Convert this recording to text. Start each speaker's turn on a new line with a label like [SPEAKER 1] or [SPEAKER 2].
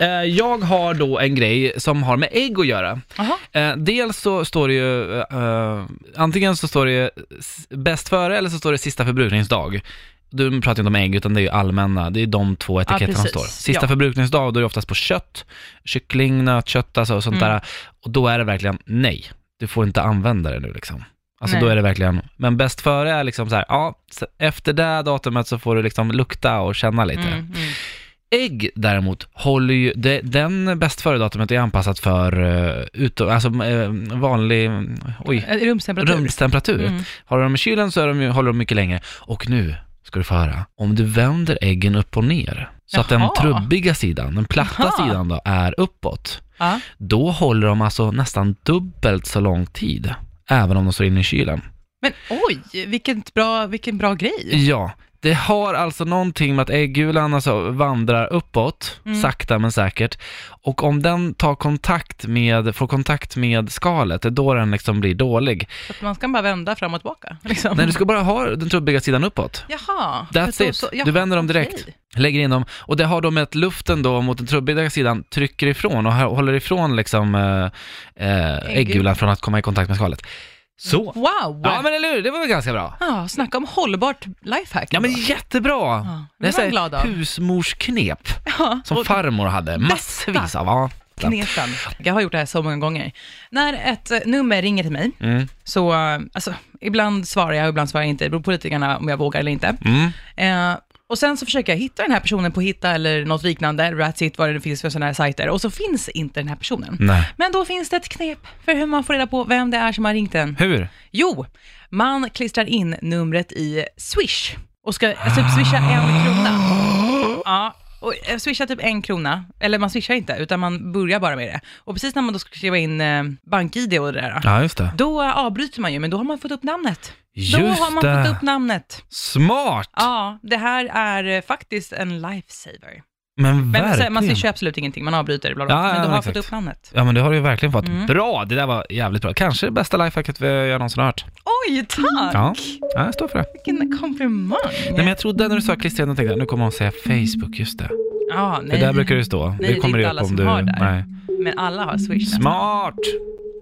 [SPEAKER 1] Eh, Jag har då en grej som har med ägg att göra.
[SPEAKER 2] Aha.
[SPEAKER 1] Eh, Dels så står det ju, eh, eh, antingen så står det ju s- bäst före eller så står det sista förbrukningsdag. Du pratar ju inte om ägg utan det är ju allmänna, det är de två etiketterna som
[SPEAKER 2] precis.
[SPEAKER 1] står. Sista
[SPEAKER 2] Ja.
[SPEAKER 1] förbrukningsdag, då är det oftast på kött, kyckling, nötkött alltså, och sånt
[SPEAKER 2] Mm.
[SPEAKER 1] där. Och då är det verkligen nej, du får inte använda det nu liksom. Alltså
[SPEAKER 2] Nej.
[SPEAKER 1] då är det verkligen, men bäst före är liksom så här, ja, s- efter det datumet så får du liksom lukta och känna lite.
[SPEAKER 2] Mm, mm.
[SPEAKER 1] Ägg däremot håller ju, de, den bäst före-datumet är anpassat för uh, utom, alltså eh, vanlig, mm, oj,
[SPEAKER 2] Eh, Rumstemperatur.
[SPEAKER 1] rumstemperatur.
[SPEAKER 2] Mm.
[SPEAKER 1] Har du dem i kylen så är de, ju- håller de mycket längre. Och nu ska du få höra, om du vänder äggen upp och ner, så att den
[SPEAKER 2] Jaha.
[SPEAKER 1] trubbiga sidan, den platta
[SPEAKER 2] Jaha.
[SPEAKER 1] sidan då, är uppåt,
[SPEAKER 2] Ja.
[SPEAKER 1] då håller de alltså nästan dubbelt så lång tid, även om de står inne i kylen.
[SPEAKER 2] Men oj, vilket bra, vilken bra grej.
[SPEAKER 1] Ja, det har alltså någonting med att äggulan alltså vandrar uppåt,
[SPEAKER 2] Mm.
[SPEAKER 1] sakta men säkert. Och om den tar kontakt med, får kontakt med skalet, det är då den liksom blir dålig.
[SPEAKER 2] Så att man ska bara vända fram och tillbaka. Liksom.
[SPEAKER 1] Nej, du ska bara ha den trubbiga sidan uppåt.
[SPEAKER 2] Jaha.
[SPEAKER 1] That's
[SPEAKER 2] för så-
[SPEAKER 1] it.
[SPEAKER 2] så-
[SPEAKER 1] Du vänder dem direkt.
[SPEAKER 2] okej.
[SPEAKER 1] Lägger in dem, och det har då med att luften då mot den trubbiga sidan trycker ifrån och hå- håller ifrån liksom eh, eh, äggulan från att komma i kontakt med skalet. Så!
[SPEAKER 2] Wow!
[SPEAKER 1] Ja
[SPEAKER 2] Ja,
[SPEAKER 1] men eller hur, det var väl ganska bra?
[SPEAKER 2] snacka om hållbart lifehack.
[SPEAKER 1] Ja men
[SPEAKER 2] ändå.
[SPEAKER 1] jättebra!
[SPEAKER 2] ja,
[SPEAKER 1] Det
[SPEAKER 2] det
[SPEAKER 1] är
[SPEAKER 2] var jag
[SPEAKER 1] så
[SPEAKER 2] glad av.
[SPEAKER 1] här husmorsknep.
[SPEAKER 2] Ja,
[SPEAKER 1] Som
[SPEAKER 2] och
[SPEAKER 1] farmor hade, massvis av. Ja.
[SPEAKER 2] Knepen. Jag har gjort det här så många gånger. När ett eh, nummer ringer till mig,
[SPEAKER 1] Mm.
[SPEAKER 2] så eh, alltså, ibland svarar jag, ibland svarar jag inte. Det beror på lite grann om jag vågar eller inte.
[SPEAKER 1] Mm.
[SPEAKER 2] Eh, och sen så försöker jag hitta den här personen på Hitta eller något liknande, Ratsit, vad det nu finns för sådana här sajter. Och så finns inte den här personen.
[SPEAKER 1] Nej.
[SPEAKER 2] Men då finns det ett knep för hur man får reda på vem det är som har ringt en.
[SPEAKER 1] Hur?
[SPEAKER 2] Jo, man klistrar in numret i Swish och ska alltså, typ swisha en krona. Ja, och eh, swisha typ en krona. Eller man swishar inte, utan man börjar bara med det. Och precis när man då ska skriva in eh, bank-id och det där,
[SPEAKER 1] Ja, just det.
[SPEAKER 2] då avbryter man ju, men då har man fått upp namnet.
[SPEAKER 1] Just
[SPEAKER 2] då har man
[SPEAKER 1] det.
[SPEAKER 2] fått upp namnet.
[SPEAKER 1] Smart!
[SPEAKER 2] Ja, det här är eh, faktiskt en lifesaver.
[SPEAKER 1] Men
[SPEAKER 2] Men
[SPEAKER 1] verkligen.
[SPEAKER 2] så- man swishar absolut ingenting, man avbryter, bla bla.
[SPEAKER 1] Ja,
[SPEAKER 2] bla. men
[SPEAKER 1] ja,
[SPEAKER 2] då har man
[SPEAKER 1] exakt.
[SPEAKER 2] fått upp namnet.
[SPEAKER 1] Ja men det har du ju verkligen fått.
[SPEAKER 2] Mm.
[SPEAKER 1] Bra, det där var jävligt bra. Kanske det bästa lifehacket vi- jag någonsin har hört.
[SPEAKER 2] Oj, tack!
[SPEAKER 1] Ja, ja jag står för det.
[SPEAKER 2] Vilken komplimang!
[SPEAKER 1] Nej men jag trodde när du sa klistrena, tänkte jag, nu kommer hon säga Facebook, just det.
[SPEAKER 2] ja,
[SPEAKER 1] För där brukar det stå.
[SPEAKER 2] det är inte
[SPEAKER 1] ju
[SPEAKER 2] alla som har där.
[SPEAKER 1] Nej.
[SPEAKER 2] Men alla har Swish nästan.
[SPEAKER 1] Smart!